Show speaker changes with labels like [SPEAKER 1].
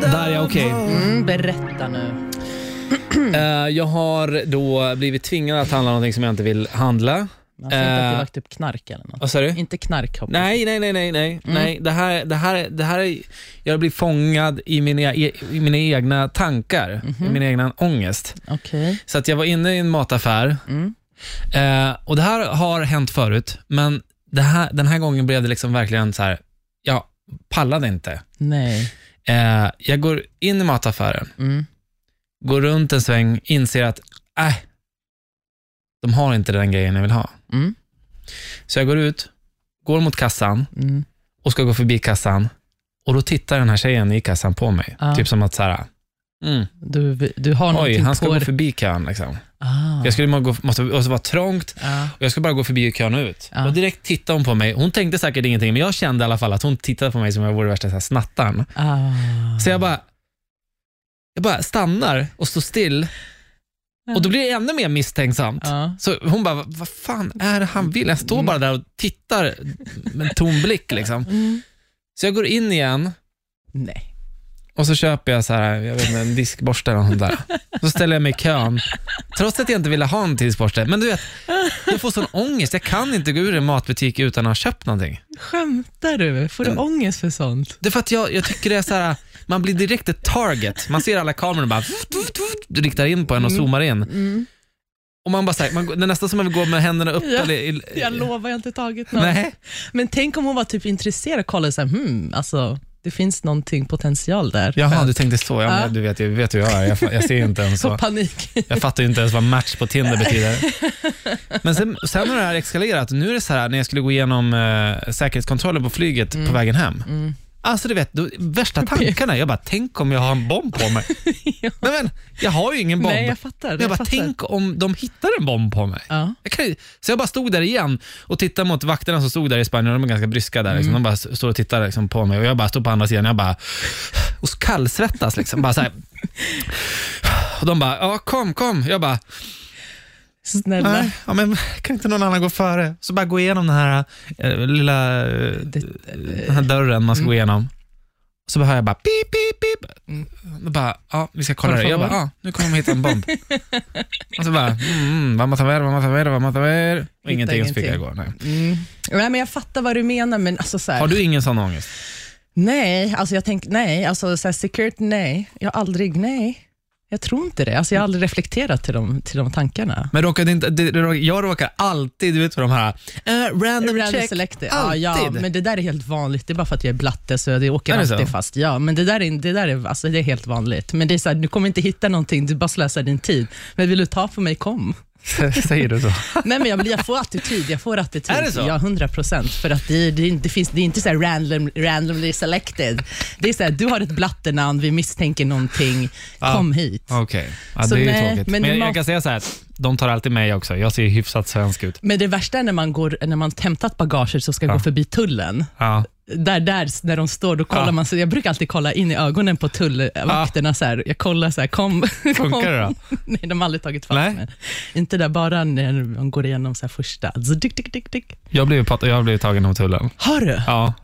[SPEAKER 1] Där är jag okej.
[SPEAKER 2] Mm, berätta nu.
[SPEAKER 1] Eh, jag har då blivit tvingad att handla någonting som jag inte vill handla.
[SPEAKER 2] Man får inte att
[SPEAKER 1] Eh.
[SPEAKER 2] du lagt upp knark eller något.
[SPEAKER 1] Vad sa du?
[SPEAKER 2] Inte knark hoppas
[SPEAKER 1] Nej, nej, nej, nej, nej.
[SPEAKER 2] Mm.
[SPEAKER 1] nej. Det här, det här, det här är, jag blir fångad i mina, e- i mina egna tankar,
[SPEAKER 2] Mhm.
[SPEAKER 1] i min egna ångest.
[SPEAKER 2] jag. Okej.
[SPEAKER 1] Så att jag var inne i en mataffär
[SPEAKER 2] Mm.
[SPEAKER 1] eh, och det här har hänt förut, men det här, den här gången blev det liksom verkligen så här, jag pallade inte.
[SPEAKER 2] Nej.
[SPEAKER 1] Eh, jag går in i mataffären,
[SPEAKER 2] Mm.
[SPEAKER 1] går runt en sväng, inser att äh, de har inte den grejen jag vill ha.
[SPEAKER 2] Mm.
[SPEAKER 1] Så jag går ut, går mot kassan,
[SPEAKER 2] Mm.
[SPEAKER 1] och ska gå förbi kassan och då tittar den här tjejen i kassan på mig.
[SPEAKER 2] Ja.
[SPEAKER 1] Typ som att så här, mm,
[SPEAKER 2] Du, du har
[SPEAKER 1] oj,
[SPEAKER 2] någonting
[SPEAKER 1] han ska
[SPEAKER 2] på
[SPEAKER 1] gå
[SPEAKER 2] dig.
[SPEAKER 1] förbi kön. Liksom.
[SPEAKER 2] Ah.
[SPEAKER 1] Jag skulle må- gå, måste, och så var trångt
[SPEAKER 2] Ah.
[SPEAKER 1] och jag skulle bara gå förbi kön och ut.
[SPEAKER 2] Ja.
[SPEAKER 1] Och direkt tittade hon på mig. Hon tänkte säkert ingenting, men jag kände i alla fall att hon tittade på mig som om jag vore värsta så här snattaren.
[SPEAKER 2] Ah.
[SPEAKER 1] Så jag bara, jag bara stannar och står still och då blir det ännu mer misstänksamt.
[SPEAKER 2] Ja.
[SPEAKER 1] Så hon bara, "Vad- vad fan är det han vill? Jag står bara där och tittar med en tom blick. Liksom.
[SPEAKER 2] Mm.
[SPEAKER 1] Så jag går in igen
[SPEAKER 2] Nej.
[SPEAKER 1] Och så köper jag så här, jag vet inte, en diskborste eller något sånt där. Så ställer jag mig i kön. Trots att jag inte ville ha en diskborste. Men du vet, jag får sån ångest. Jag kan inte gå ur en matbutik utan att ha köpt någonting.
[SPEAKER 2] Skämtar du? Får du
[SPEAKER 1] Mm.
[SPEAKER 2] ångest för sånt?
[SPEAKER 1] Det är för att jag, jag tycker det är så här, man blir direkt ett target. Man ser alla kameror bara fuff, fuff, fuff, riktar in på en och
[SPEAKER 2] Mm.
[SPEAKER 1] zoomar in. Och man bara så här, man, går- det är nästan som man vill gå med händerna upp.
[SPEAKER 2] Ja,
[SPEAKER 1] eller, i-
[SPEAKER 2] Jag lovar, jag har inte tagit något.
[SPEAKER 1] Nej.
[SPEAKER 2] Men tänk om hon var typ intresserad och kollade så här, hmm, alltså, det finns någonting potential där.
[SPEAKER 1] Jaha, du tänkte så. Ja,
[SPEAKER 2] Ja.
[SPEAKER 1] men, du vet, jag vet hur jag är. Jag, fa- jag ser inte ens så.
[SPEAKER 2] Får panik.
[SPEAKER 1] Jag fattar ju inte ens vad match på Tinder betyder. Men sen, sen har det här eskalerat. Nu är det så här när jag skulle gå igenom eh, säkerhetskontrollen på flyget
[SPEAKER 2] Mm.
[SPEAKER 1] på vägen hem. Alltså du vet, då, värsta tankarna. Jag bara, tänk om jag har en bomb på mig.
[SPEAKER 2] Ja.
[SPEAKER 1] Nej men, jag har ju ingen bomb.
[SPEAKER 2] Nej, jag fattar.
[SPEAKER 1] Men jag bara,
[SPEAKER 2] fattar.
[SPEAKER 1] tänk om de hittar en bomb på mig.
[SPEAKER 2] Ja.
[SPEAKER 1] Jag kan, ju- så jag bara stod där igen och tittade mot vakterna som stod där i Spanien. De är ganska bryska där. Liksom. De bara s- står och tittar liksom, på mig och jag bara står på andra sidan. Jag bara och kallsvettas. Liksom. Bara så här. Och de bara, ja kom, kom. Jag bara,
[SPEAKER 2] Snälla.
[SPEAKER 1] nej, ja, men, kan inte någon annan gå före? Så bara gå igenom den här eh, lilla eh,
[SPEAKER 2] Det,
[SPEAKER 1] den här dörren man ska gå igenom. Och så hör jag bara pip, pip, pip.
[SPEAKER 2] Mm.
[SPEAKER 1] Då bara, ja, vi ska kolla
[SPEAKER 2] Por
[SPEAKER 1] det. Jag bara,
[SPEAKER 2] favor.
[SPEAKER 1] ja, nu kommer de hitta en bomb. och så bara, mm, vamos a ver, vamos a ver, vamos a ver. Och ingenting, och så fick jag gå. Nej.
[SPEAKER 2] mm. Nej, men jag fattar vad du menar, men alltså så här,
[SPEAKER 1] Har du ingen sån ångest?
[SPEAKER 2] nej, alltså jag tänk, nej, alltså så här, secret, nej, jag har aldrig, nej. Jag tror inte det. Alltså jag har aldrig reflekterat till de, till de tankarna.
[SPEAKER 1] Men råkar det inte, det, det, råkar- jag råkar alltid ut för de här, eh, random,
[SPEAKER 2] Random
[SPEAKER 1] check.
[SPEAKER 2] selected.
[SPEAKER 1] Alltid.
[SPEAKER 2] Ja, ja, men det där är helt vanligt. Det är bara för att jag är blatte, så det åker
[SPEAKER 1] Är det
[SPEAKER 2] alltid
[SPEAKER 1] så?
[SPEAKER 2] fast. Ja, men det där är, det där är, alltså, det är helt vanligt. Men det är så här, du kommer inte hitta någonting, du bara slösar din tid. Men vill du ta på mig, kom.
[SPEAKER 1] Säger du så?
[SPEAKER 2] Nej, men jag, blir- jag får attityd. Jag får attityd.
[SPEAKER 1] Är det så?
[SPEAKER 2] Ja, 100 procent. För att det, det, det, finns, det är inte så här random, randomly selected. Det är så här, du har ett blattenamn, vi misstänker någonting, kom hit.
[SPEAKER 1] Okej, ja,
[SPEAKER 2] Så
[SPEAKER 1] det är ju
[SPEAKER 2] nej,
[SPEAKER 1] tråkigt. Men,
[SPEAKER 2] men
[SPEAKER 1] jag,
[SPEAKER 2] det må-
[SPEAKER 1] jag kan säga så här, de tar alltid mig också. Jag ser ju hyfsat svensk ut.
[SPEAKER 2] Men det värsta är när man, går, när man hämtat bagaget så ska gå förbi tullen.
[SPEAKER 1] Ja.
[SPEAKER 2] Där, där när de står, då kollar
[SPEAKER 1] Ja.
[SPEAKER 2] man. Så jag brukar alltid kolla in i ögonen på tullvakterna. Så här. Jag kollar så här, kom. kom.
[SPEAKER 1] Funkar det då?
[SPEAKER 2] Nej, de har aldrig tagit fast
[SPEAKER 1] Nej.
[SPEAKER 2] mig. Inte där, bara när de går igenom så här första. Alltså, dick, dick, dick, dick.
[SPEAKER 1] Jag blev, pat- jag blev tagen av tullen.
[SPEAKER 2] Har du?
[SPEAKER 1] Ja,